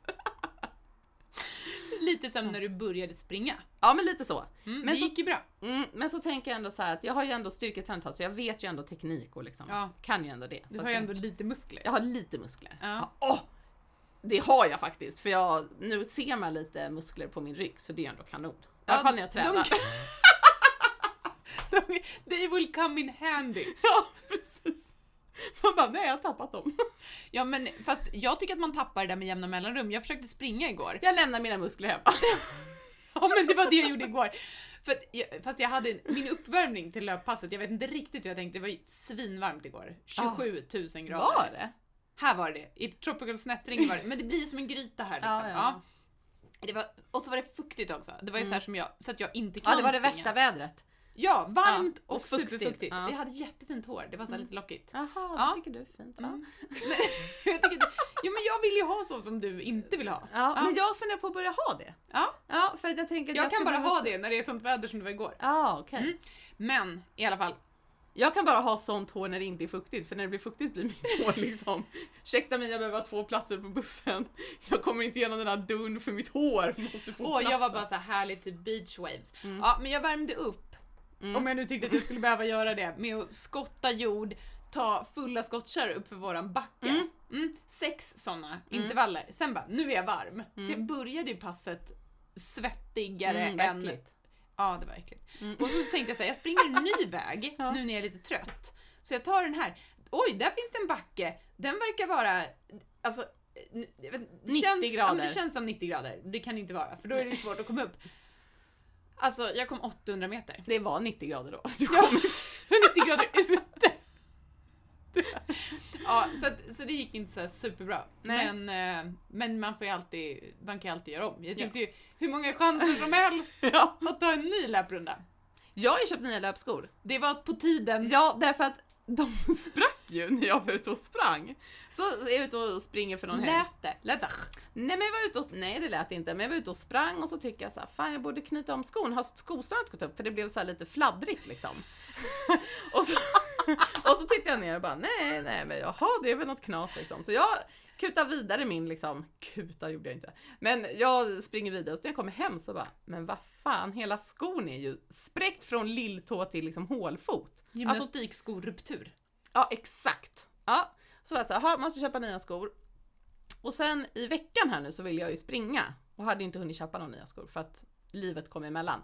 Speaker 1: Lite som när du började springa.
Speaker 2: Ja, men lite så.
Speaker 1: Mm,
Speaker 2: Mm. Men
Speaker 1: det
Speaker 2: så-
Speaker 1: gick ju bra.
Speaker 2: Mm, men så tänker jag ändå så här att jag har ju ändå styrketränat ett tag, så jag vet ju ändå teknik och liksom
Speaker 1: Ja.
Speaker 2: kan ju ändå det.
Speaker 1: Du
Speaker 2: Så
Speaker 1: har
Speaker 2: att
Speaker 1: ju
Speaker 2: jag-
Speaker 1: ändå lite muskler.
Speaker 2: Jag har lite muskler.
Speaker 1: Ja.
Speaker 2: Ja, åh! det har jag faktiskt, för jag, nu ser man lite muskler på min rygg så det är ändå kanon. I alla fall när jag
Speaker 1: de-
Speaker 2: tränar.
Speaker 1: de- They will come in handy.
Speaker 2: Ja, precis. Man bara, nej jag har tappat dem.
Speaker 1: Ja men fast jag tycker att man tappar det där med jämna mellanrum. Jag försökte springa igår.
Speaker 2: Jag lämnar mina muskler hemma.
Speaker 1: Ja men det var det jag gjorde igår. För att jag, fast jag hade en- min uppvärmning till löppasset, jag vet inte riktigt hur jag tänkte, det var ju svinvarmt igår. 27 000 grader.
Speaker 2: Ah. Var det?
Speaker 1: Här var det, i tropical snättring var det, men det blir som en gryta här liksom.
Speaker 2: Ja,
Speaker 1: Ja,
Speaker 2: ja, ja. Mm.
Speaker 1: Det var, och så var det fuktigt också, det var ju så här som jag, så att jag inte kan
Speaker 2: Ja, det var det
Speaker 1: springa.
Speaker 2: värsta vädret.
Speaker 1: Ja, varmt
Speaker 2: Ja,
Speaker 1: och,
Speaker 2: och fuktigt.
Speaker 1: superfuktigt.
Speaker 2: Ja. Mm.
Speaker 1: Jag hade jättefint hår, det var så här lite lockigt.
Speaker 2: Jaha, det
Speaker 1: Ja.
Speaker 2: tycker du är fint.
Speaker 1: Mm. Men, jag tycker, inte- ja men jag vill ju ha så som du inte vill ha.
Speaker 2: Ja, men jag funderar på att börja ha det.
Speaker 1: Ja.
Speaker 2: Ja, för att jag tänker att
Speaker 1: Jag kan
Speaker 2: ska
Speaker 1: bara
Speaker 2: börja
Speaker 1: ha
Speaker 2: vuxen.
Speaker 1: det när det är sånt väder som det var igår.
Speaker 2: Ja, okej.
Speaker 1: Mm. Men i alla fall,
Speaker 2: Jag kan bara ha sånt hår när det inte är fuktigt, för när det blir fuktigt blir mitt hår liksom Ursäkta mig, jag behöver ha två platser på bussen. Jag kommer inte igenom den här dun för mitt hår måste få
Speaker 1: Åh,
Speaker 2: plats.
Speaker 1: jag var bara så här härligt typ beach waves.
Speaker 2: Mm.
Speaker 1: Ja, men jag värmde upp.
Speaker 2: Mm.
Speaker 1: Om jag nu tyckte att jag skulle behöva göra det med att skotta jord, ta fulla skottkärror upp för våran backe.
Speaker 2: Mm.
Speaker 1: Mm. Sex sådana intervaller. Sen bara, nu är jag varm. Så jag började ju passet svettigare
Speaker 2: Mm, vad
Speaker 1: än...
Speaker 2: äckligt.
Speaker 1: Ja, det var äckligt.
Speaker 2: Mm.
Speaker 1: Och så tänkte jag så här, jag springer en ny väg
Speaker 2: Ja.
Speaker 1: nu när jag är lite trött. Så jag tar den här. Oj, där finns det en backe. Den verkar vara, alltså, n- jag vet,
Speaker 2: 90
Speaker 1: känns, ja, men
Speaker 2: grader.
Speaker 1: Det känns som 90 grader. Det kan det inte vara, för då är det ju svårt att komma upp. Alltså jag kom 800 meter.
Speaker 2: Det var 90 grader då. Du
Speaker 1: Ja.
Speaker 2: kom inte-
Speaker 1: 90 grader ute. Ja, så, att, så det gick inte så här superbra.
Speaker 2: Nej.
Speaker 1: Men, eh, men man, får ju alltid, man kan ju alltid göra om. Det
Speaker 2: Ja.
Speaker 1: finns ju hur många chanser som helst
Speaker 2: ja.
Speaker 1: att ta en ny löprunda.
Speaker 2: Jag har ju köpt nya löpskor.
Speaker 1: Det var på tiden.
Speaker 2: Ja, därför att de sprack ju när jag var ute och sprang. Så är jag ute och springer för någon helg.
Speaker 1: Lät det? Lät det?
Speaker 2: Nej men jag var ute och, nej det lät inte, men jag var ute och sprang och så tyckte jag så här, fan jag borde knyta om skon, har skosnöret gått upp? För det blev så här lite fladdrigt liksom. och, så, och så tittade jag ner och bara, nej nej men jaha det är väl något knas liksom. Så jag kutar vidare min liksom, kutar gjorde jag inte, men jag springer vidare och så när jag kommer hem så bara, men vad fan hela skon är ju spräckt från lilltå till liksom hålfot. Alltså
Speaker 1: Gymnastikskor-ruptur.
Speaker 2: Ja, exakt. Ja, så var jag så här, "Jaha, måste köpa nya skor. Och sen i veckan här nu så ville jag ju springa och hade inte hunnit köpa några nya skor för att livet kom emellan.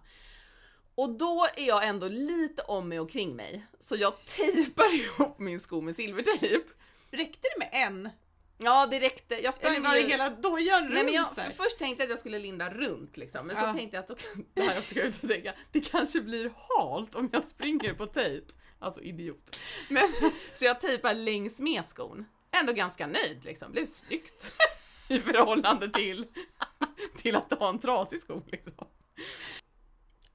Speaker 2: Och då är jag ändå lite om mig och kring mig, så jag tejpar ihop min sko med silvertejp.
Speaker 1: Räckte det med en?
Speaker 2: Ja, det räckte. Jag sprang
Speaker 1: Eller var det
Speaker 2: ju-
Speaker 1: hela dojan runt?
Speaker 2: Nej, men jag,
Speaker 1: så här?
Speaker 2: först tänkte jag att jag skulle linda runt liksom, men så
Speaker 1: Ja.
Speaker 2: tänkte jag att då kan, det här också kan jag inte tänka, det kanske blir halt om jag springer på tejp. Alltså idiot. Men, så jag tejpar längs med skon. Ändå ganska nöjd liksom, blev snyggt i förhållande till, till att ha en trasig sko liksom.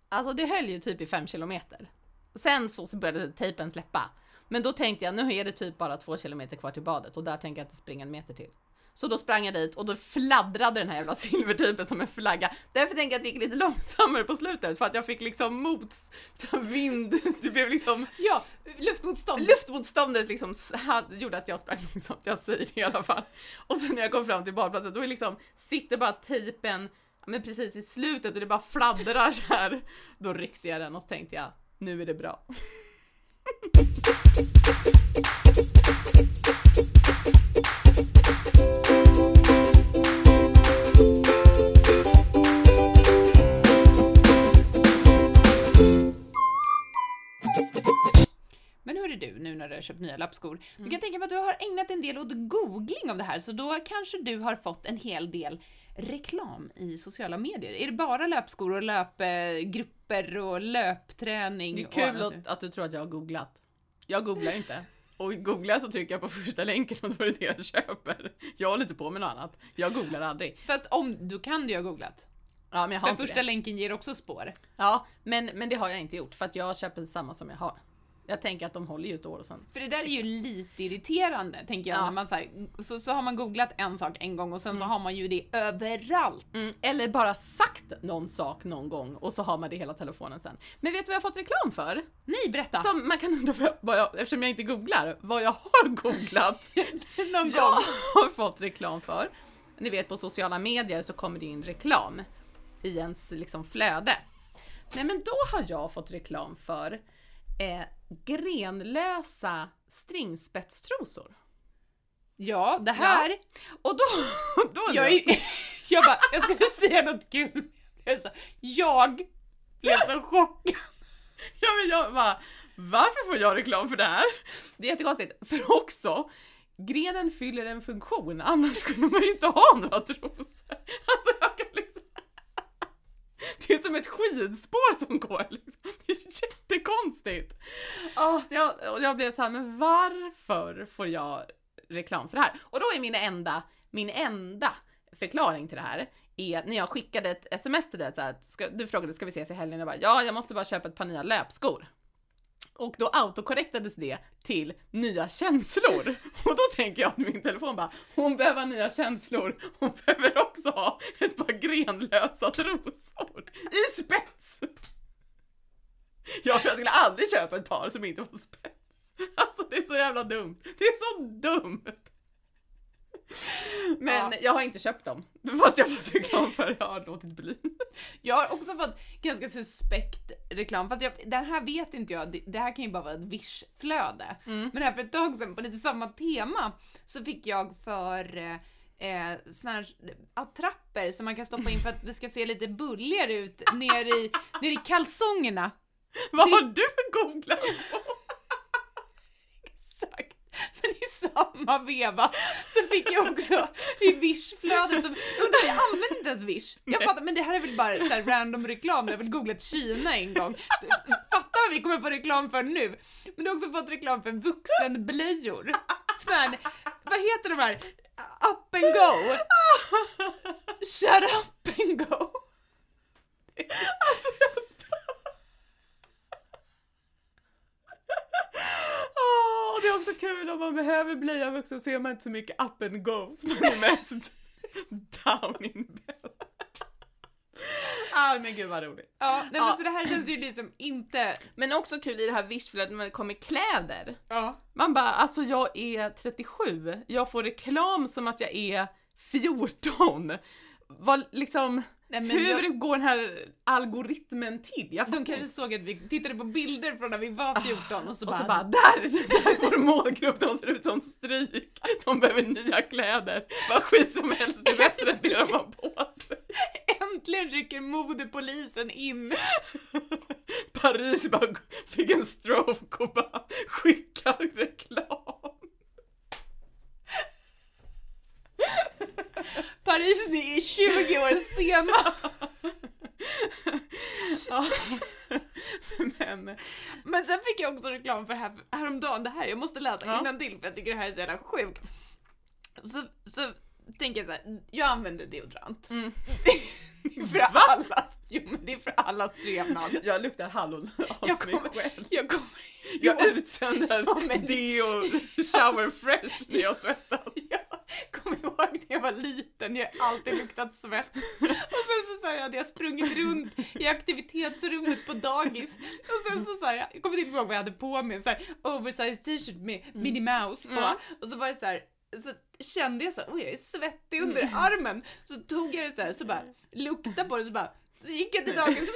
Speaker 2: Alltså det höll ju typ i fem kilometer. Sen så började tejpen släppa. Men då tänkte jag, nu är det typ bara två kilometer kvar till badet och där tänker jag inte springa en meter till. Så då sprang jag dit och då fladdrade den här jävla silvertejpen som en flagga. Därför tänker jag att det gick lite långsammare på slutet för att jag fick liksom mot vind. Det blev liksom
Speaker 1: Ja, luftmotstånd.
Speaker 2: luftmotståndet liksom s- hade- gjorde att jag sprang långsamt. Jag säger det i alla fall. Och sen när jag kom fram till badplatsen då är liksom sitter bara tejpen ja, men precis i slutet och det bara fladdrar så här. Då ryckte jag den och så tänkte jag nu är det bra.
Speaker 1: Men hur är du nu när du har köpt nya lappskor? Du
Speaker 2: Mm.
Speaker 1: kan jag tänka mig att du har ägnat en del åt googling av det här, så då kanske du har fått en hel del reklam i sociala medier. Är det bara löpskor och löpgrupper och löpträning?
Speaker 2: Det är
Speaker 1: och
Speaker 2: kul
Speaker 1: annat nu?
Speaker 2: att, att du tror att jag har googlat. Jag googlar ju inte. Och googlar jag så trycker jag på första länken och då är det det jag köper. Jag håller inte på med något annat. Jag googlar aldrig.
Speaker 1: För att om, du kan du ju ha googlat.
Speaker 2: Ja, men jag har
Speaker 1: För
Speaker 2: inte
Speaker 1: första
Speaker 2: det.
Speaker 1: länken ger också spår.
Speaker 2: Ja, men, men det har jag inte gjort för att jag köper samma som jag har. Jag tänker att de håller ju ett år och sen.
Speaker 1: För det där är ju lite irriterande, tänker jag.
Speaker 2: Ja.
Speaker 1: När man så, här, så, så har man googlat en sak en gång och sen så har man ju det överallt.
Speaker 2: Mm, eller bara sagt någon sak någon gång och så har man det i hela telefonen sen. Men vet du vad jag har fått reklam för?
Speaker 1: Nej, berätta!
Speaker 2: Som man kan undra, vad jag, vad jag, eftersom jag inte googlar, vad jag har googlat.
Speaker 1: Någon
Speaker 2: jag
Speaker 1: gång.
Speaker 2: har fått reklam för. Ni vet på sociala medier så kommer det in reklam i ens liksom flöde. Nej men då har jag fått reklam för eh, grenlösa stringspetstrosor.
Speaker 1: Ja, det här
Speaker 2: Och då... då undrar
Speaker 1: Jag, är, jag bara, jag skulle säga något kul. Jag, sa, jag blev så chockad.
Speaker 2: Ja men jag bara, varför får jag reklam för det här? Det är jättekonstigt, för också grenen fyller en funktion, annars skulle man ju inte ha några trosor. Alltså jag kan liksom... Det är som ett skidspår som går liksom. Det är jättekonstigt. Oh, jag, och jag blev så här, men varför får jag reklam för det här? Och då är min enda, min enda förklaring till det här är när jag skickade ett sms till dig så här, att ska, du frågade ska vi ses i helgen? Jag bara ja, jag måste bara köpa ett par nya löpskor. Och då autokorrektades det till nya känslor. Och då tänker jag att min telefon bara, hon behöver nya känslor, hon behöver också ha ett par grenlösa trosor i spets. Ja, för jag skulle aldrig köpa ett par som inte var spets. Alltså det är så jävla dumt. Det är så dumt. Men
Speaker 1: Ja.
Speaker 2: jag har inte köpt dem. Fast jag har fått reklam för det. Jag har låtit bli.
Speaker 1: Jag har också fått ganska suspekt reklam. Fast jag, det här vet inte jag, det, det här kan ju bara vara ett Wish-flöde. Men här för ett tag sedan, på lite samma tema, så fick jag för eh, eh, såna här attrapper som man kan stoppa in för att det ska se lite bulligare ut ner i, ner i kalsongerna.
Speaker 2: Vad har du googlat på?
Speaker 1: Exakt. Men i samma samma veva så fick jag också i Wish-flödet, som- undrar jag använder inte ens Wish. Jag fattar, men det här är väl bara så här random reklam när jag väl googlat Kina en gång. Fatta vad vi kommer få reklam för nu. Men du har också fått reklam för vuxenblöjor. Sån här, vad heter de här? Up and go! Shut up and go!
Speaker 2: Alltså jag dör. Åh, och det är också kul om man behöver blöja vuxen så är man inte så mycket up and go som man är mest down in bed. Ah, men gud vad roligt.
Speaker 1: Ja, nej, men
Speaker 2: Ja.
Speaker 1: så det här känns ju liksom inte...
Speaker 2: Men också kul i det här vishflödet när det kommer kläder.
Speaker 1: Ja.
Speaker 2: Man bara, alltså jag är 37, jag får reklam som att jag är 14. Vad liksom,
Speaker 1: Nej, men
Speaker 2: hur
Speaker 1: jag-
Speaker 2: går den här algoritmen till? Jag
Speaker 1: De
Speaker 2: fattar
Speaker 1: kanske såg att vi tittade på bilder från när vi var 14 och så
Speaker 2: Och
Speaker 1: bara,
Speaker 2: så bara där, där är vår målgrupp, de ser ut som stryk, de behöver nya kläder, vad skit som helst är bättre än det de har på sig.
Speaker 1: äntligen rycker modepolisen in.
Speaker 2: Paris bara fick en stroke och bara skickade reklam.
Speaker 1: Paris ni är 20 år sena.
Speaker 2: Ja. Men,
Speaker 1: Men sen fick jag också reklam för här, häromdagen, det här, jag måste läsa
Speaker 2: Ja.
Speaker 1: innan till för jag tycker det här är så jävla sjukt. Så, så tänker jag så här, jag använder deodorant.
Speaker 2: Mm.
Speaker 1: Det är för allas, jo men det är för allas trevnad.
Speaker 2: jag luktar hallon av
Speaker 1: Jag
Speaker 2: mig
Speaker 1: kommer-
Speaker 2: själv.
Speaker 1: Jag kommer
Speaker 2: Jag
Speaker 1: ihåg-
Speaker 2: utsöndrar
Speaker 1: Ja, men-
Speaker 2: deo shower fresh när jag svettas.
Speaker 1: Jag kommer ihåg när jag var liten, jag har alltid luktat svett. Och sen så, så här, hade jag sprungit runt i aktivitetsrummet på dagis. Och sen så, så här, jag kommer inte ihåg vad jag hade på mig, en så här oversized t-shirt med Minnie Mouse på.
Speaker 2: Mm.
Speaker 1: Och så var det så här, så kände jag så här, oj jag är svettig under
Speaker 2: Mm.
Speaker 1: armen. Så tog jag det så här, så bara lukta på det så bara, så gick jag till dagens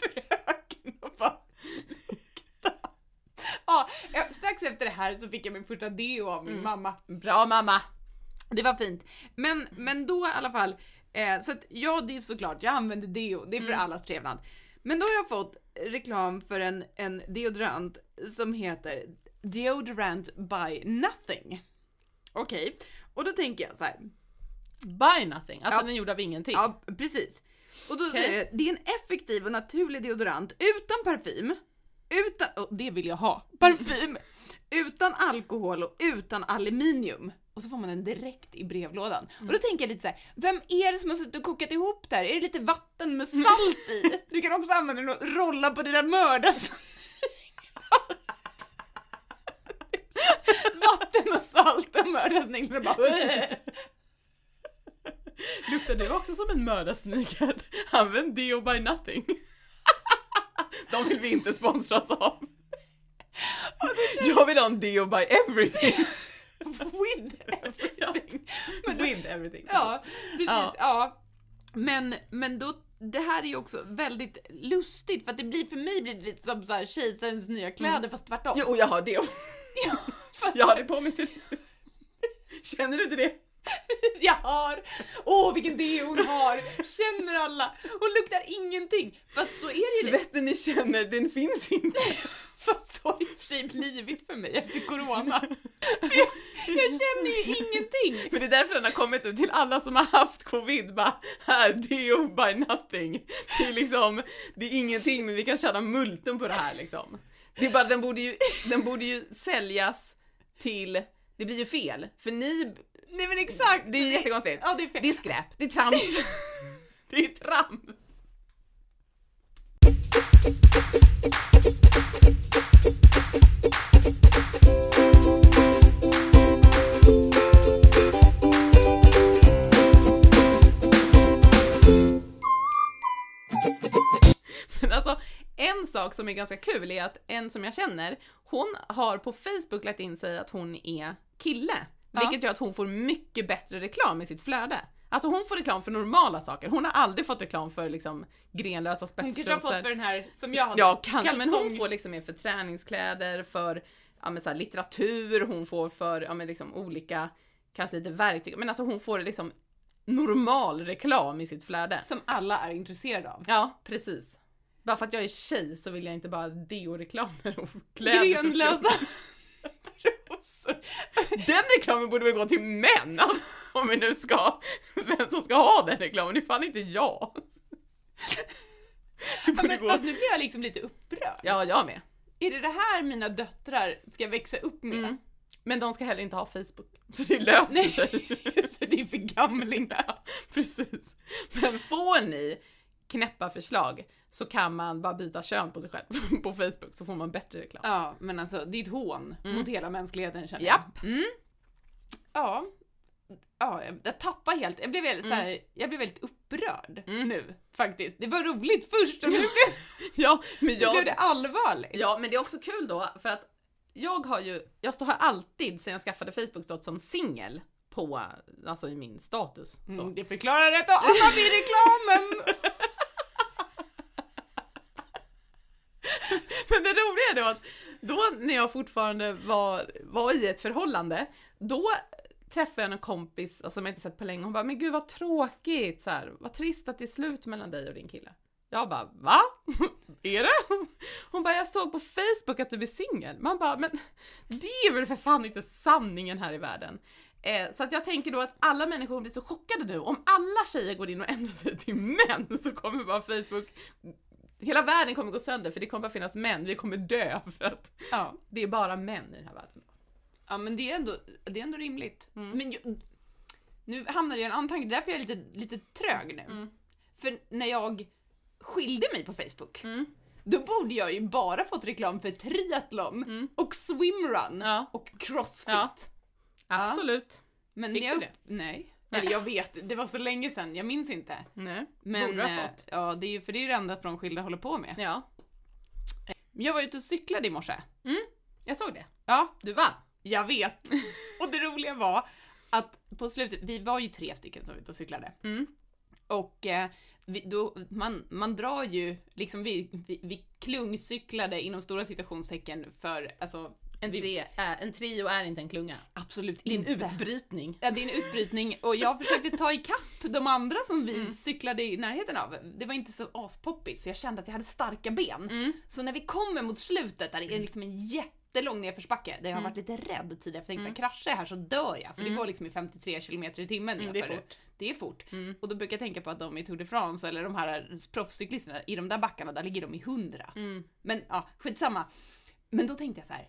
Speaker 1: fröken och bara lukta. Ja, eh, strax efter det här så fick jag min första deo av min
Speaker 2: Mm.
Speaker 1: mamma.
Speaker 2: Bra mamma!
Speaker 1: Det var fint. Men, men då i alla fall, eh, så att ja det är såklart, jag använder deo, det är för
Speaker 2: Mm.
Speaker 1: allas trevnad. Men då har jag fått reklam för en, en deodorant som heter Deodorant by Nothing. Okej, och då tänker jag så här,
Speaker 2: Buy nothing, alltså
Speaker 1: Ja.
Speaker 2: den är gjord av ingenting.
Speaker 1: ja precis. Och då
Speaker 2: Okej.
Speaker 1: säger det, det är en effektiv och naturlig deodorant utan parfym, utan, och det vill jag ha, parfym, utan alkohol och utan aluminium. Och så får man den direkt i brevlådan. Och då tänker jag lite så här: vem är det som har suttit och kokat ihop det här? Är det lite vatten med salt i? Du kan också använda den och rolla på dina mördars... vatten och salt och mördarsniglar bara...
Speaker 2: Luktar du också som en mördarsnigel? Använd deo by nothing. De vill vi inte sponsras av. Jag vill ha en deo by everything.
Speaker 1: With everything. Men då-
Speaker 2: With everything.
Speaker 1: Ja, precis.
Speaker 2: Ja.
Speaker 1: Ja. Men, men då, det här är ju också väldigt lustigt för att det blir för mig blir det lite som så här kejsarens nya kläder fast tvärtom.
Speaker 2: Mm. Jo, och jag har deo.
Speaker 1: Fast
Speaker 2: Jag har det på mig. ser du? Känner du inte det?
Speaker 1: precis, jag har! Åh vilken deo hon har! Känner alla! Hon luktar ingenting! Fast så är det ju.
Speaker 2: Svetten ni känner, den finns inte.
Speaker 1: Fast så har det i och för sig blivit för mig efter corona. För jag, jag känner ju ingenting!
Speaker 2: Men det är därför den har kommit ut till alla som har haft covid. Bara, här, deo by nothing. Det är liksom, det är ingenting men vi kan tjäna multen på det här liksom. Det är bara, den borde ju, den borde ju säljas till, det blir ju fel. För ni,
Speaker 1: Nej men exakt!
Speaker 2: det är ju jättekonstigt.
Speaker 1: Ja det är fel.
Speaker 2: Det är skräp, det är trams. Det är trams. Men alltså, en sak som är ganska kul är att en som jag känner, hon har på Facebook lagt in sig att hon är kille.
Speaker 1: Ja.
Speaker 2: Vilket gör att hon får mycket bättre reklam i sitt flöde. Alltså hon får reklam för normala saker. Hon har aldrig fått reklam för liksom grenlösa
Speaker 1: Hon kanske har fått för
Speaker 2: spetstrosor.
Speaker 1: den här som jag hade.
Speaker 2: Ja, kanske. Men hon
Speaker 1: kalsong.
Speaker 2: får liksom mer för träningskläder, för ja, men så här, litteratur, hon får för ja, men liksom olika, kanske lite verktyg. Men alltså hon får liksom normal reklam i sitt flöde.
Speaker 1: Som alla är intresserade av.
Speaker 2: Ja, precis. Bara för att jag är tjej så vill jag inte bara deo-reklamer och kläder. för
Speaker 1: Grenlösa
Speaker 2: fjol.
Speaker 1: rosor.
Speaker 2: Den reklamen borde väl gå till män, alltså, om vi nu ska, vem som ska ha den reklamen, det är fan inte jag. Det
Speaker 1: Ja,
Speaker 2: borde
Speaker 1: men,
Speaker 2: gå...
Speaker 1: fast nu blir jag liksom lite upprörd.
Speaker 2: Ja, jag med.
Speaker 1: Är det det här mina döttrar ska växa upp med?
Speaker 2: Mm. Men de ska heller inte ha Facebook, så det löser
Speaker 1: Nej,
Speaker 2: sig.
Speaker 1: just det, det är förgamlingar.
Speaker 2: Precis. Men får ni knäppa förslag så kan man bara byta kön på sig själv på Facebook så får man bättre reklam.
Speaker 1: Ja, men alltså det är ett hån mot hela mänskligheten känner
Speaker 2: Japp.
Speaker 1: jag. Mm. Ja. Ja, jag- jag tappade helt. Jag blev väldigt, så här, jag blev väldigt upprörd
Speaker 2: Mm.
Speaker 1: nu faktiskt. Det var roligt först och nu blev,
Speaker 2: Ja, men
Speaker 1: blev
Speaker 2: jag,
Speaker 1: det allvarligt.
Speaker 2: ja, men det är också kul då för att jag har ju, jag står här alltid sen jag skaffade Facebook stått som singel på, alltså i min status. Så.
Speaker 1: Mm, det förklarar rätt och alla vid reklamen!
Speaker 2: Men det roliga är då att då när jag fortfarande var, var i ett förhållande, då träffade jag en kompis alltså, som jag inte sett på länge. Hon bara, men gud vad tråkigt, så här, vad trist att det är slut mellan dig och din kille. Jag bara, va? Är det? Hon bara, jag såg på Facebook att du är singel. Man bara, men det är väl för fan inte sanningen här i världen. Eh, så att jag tänker då att alla människor blir så chockade nu. Om alla tjejer går in och ändrar sig till män så kommer bara Facebook Hela världen kommer gå sönder för det kommer bara finnas män, vi kommer dö för att
Speaker 1: Ja.
Speaker 2: det är bara män i den här världen.
Speaker 1: Ja men det är ändå, det är ändå rimligt.
Speaker 2: Mm.
Speaker 1: Men jag, nu hamnar jag i en annan tanke, därför är jag lite, lite trög nu.
Speaker 2: Mm.
Speaker 1: För när jag skilde mig på Facebook,
Speaker 2: Mm.
Speaker 1: då borde jag ju bara fått reklam för triathlon
Speaker 2: Mm.
Speaker 1: och swimrun
Speaker 2: Ja.
Speaker 1: och crossfit.
Speaker 2: Ja. Absolut.
Speaker 1: Men
Speaker 2: Fick
Speaker 1: när jag,
Speaker 2: du det?
Speaker 1: Nej. Eller jag vet, det var så länge sedan, jag minns inte.
Speaker 2: Nej.
Speaker 1: Men,
Speaker 2: Borde ha
Speaker 1: eh,
Speaker 2: fått.
Speaker 1: Ja, det är ju för det är det enda från skilda håller på med.
Speaker 2: Ja.
Speaker 1: Jag var ute och cyklade i morse.
Speaker 2: Jag såg det.
Speaker 1: Ja,
Speaker 2: Du vann.
Speaker 1: Jag vet. Och det roliga var att på slutet, vi var ju tre stycken som var ute och cyklade.
Speaker 2: Mm.
Speaker 1: Och eh, vi, då, man, man drar ju, liksom vi, vi, vi klungcyklade inom stora citationstecken för, alltså,
Speaker 2: En,
Speaker 1: vi-
Speaker 2: tre, är, en trio är inte en klunga.
Speaker 1: absolut
Speaker 2: Din
Speaker 1: inte.
Speaker 2: utbrytning.
Speaker 1: Ja, det är en utbrytning och jag försökte ta ikapp de andra som
Speaker 2: Mm.
Speaker 1: vi cyklade i närheten av. Det var inte så aspoppigt så jag kände att jag hade starka ben.
Speaker 2: Mm.
Speaker 1: Så när vi kommer mot slutet där det är liksom en jättelång nedförsbacke där jag har
Speaker 2: Mm.
Speaker 1: varit lite rädd tidigare för jag tänkte mm. kraschar jag här så dör jag för det går liksom i 53 km i timmen.
Speaker 2: Mm, det Mm. är
Speaker 1: för-
Speaker 2: fort.
Speaker 1: Det är fort. Och då brukar jag tänka på att de i Tour de France eller de här proffscyklisterna i de där backarna där ligger de i 100.
Speaker 2: Mm.
Speaker 1: Men ja, skitsamma. Men då tänkte jag så här.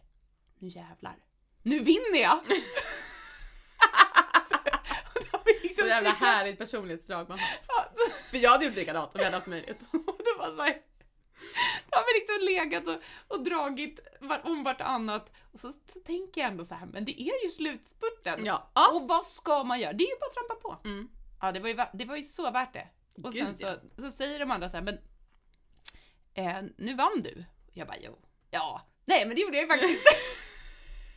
Speaker 1: nu jävlar. Nu vinner jag! Så- då har vi liksom
Speaker 2: Så jävla
Speaker 1: cyklat-
Speaker 2: härligt personlighetsdrag man har. För jag hade gjort likadant om jag hade haft möjlighet.
Speaker 1: Och det var så här, då har vi liksom legat och, och dragit var, om vartannat och så, så tänker jag ändå så här, men det är ju slutspurten.
Speaker 2: Ja.
Speaker 1: Och vad ska man göra? Det är ju bara att trampa på.
Speaker 2: Mm.
Speaker 1: Ja, det var ju, va- det var ju så värt det. Och
Speaker 2: Gud,
Speaker 1: sen så, så säger de andra så här, men eh, nu vann du. Jag bara, jo. Ja. Nej, men det gjorde jag ju faktiskt.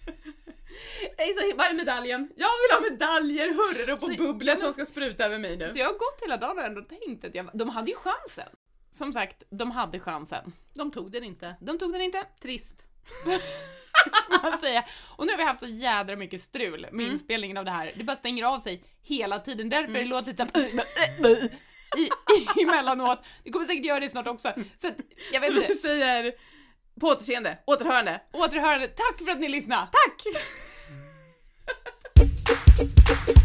Speaker 2: Nej, så var är medaljen? Jag vill ha medaljer, hurror
Speaker 1: Så-
Speaker 2: och bubblet som ska spruta över mig nu.
Speaker 1: Så jag har gått hela dagen och ändå tänkt att jag, de hade ju chansen. Som sagt, de hade chansen.
Speaker 2: De tog den inte.
Speaker 1: De tog den inte. Trist. Får man säga. Och nu har vi haft så jädra mycket strul med inspelningen av det här. Det bara stänger av sig hela tiden. Därför det låter lite såhär i, i, emellanåt. Det kommer säkert göra det snart också. Så att, jag vet
Speaker 2: Så vi
Speaker 1: inte.
Speaker 2: säger på återseende, återhörande.
Speaker 1: Återhörande. Tack för att ni lyssnade. Tack!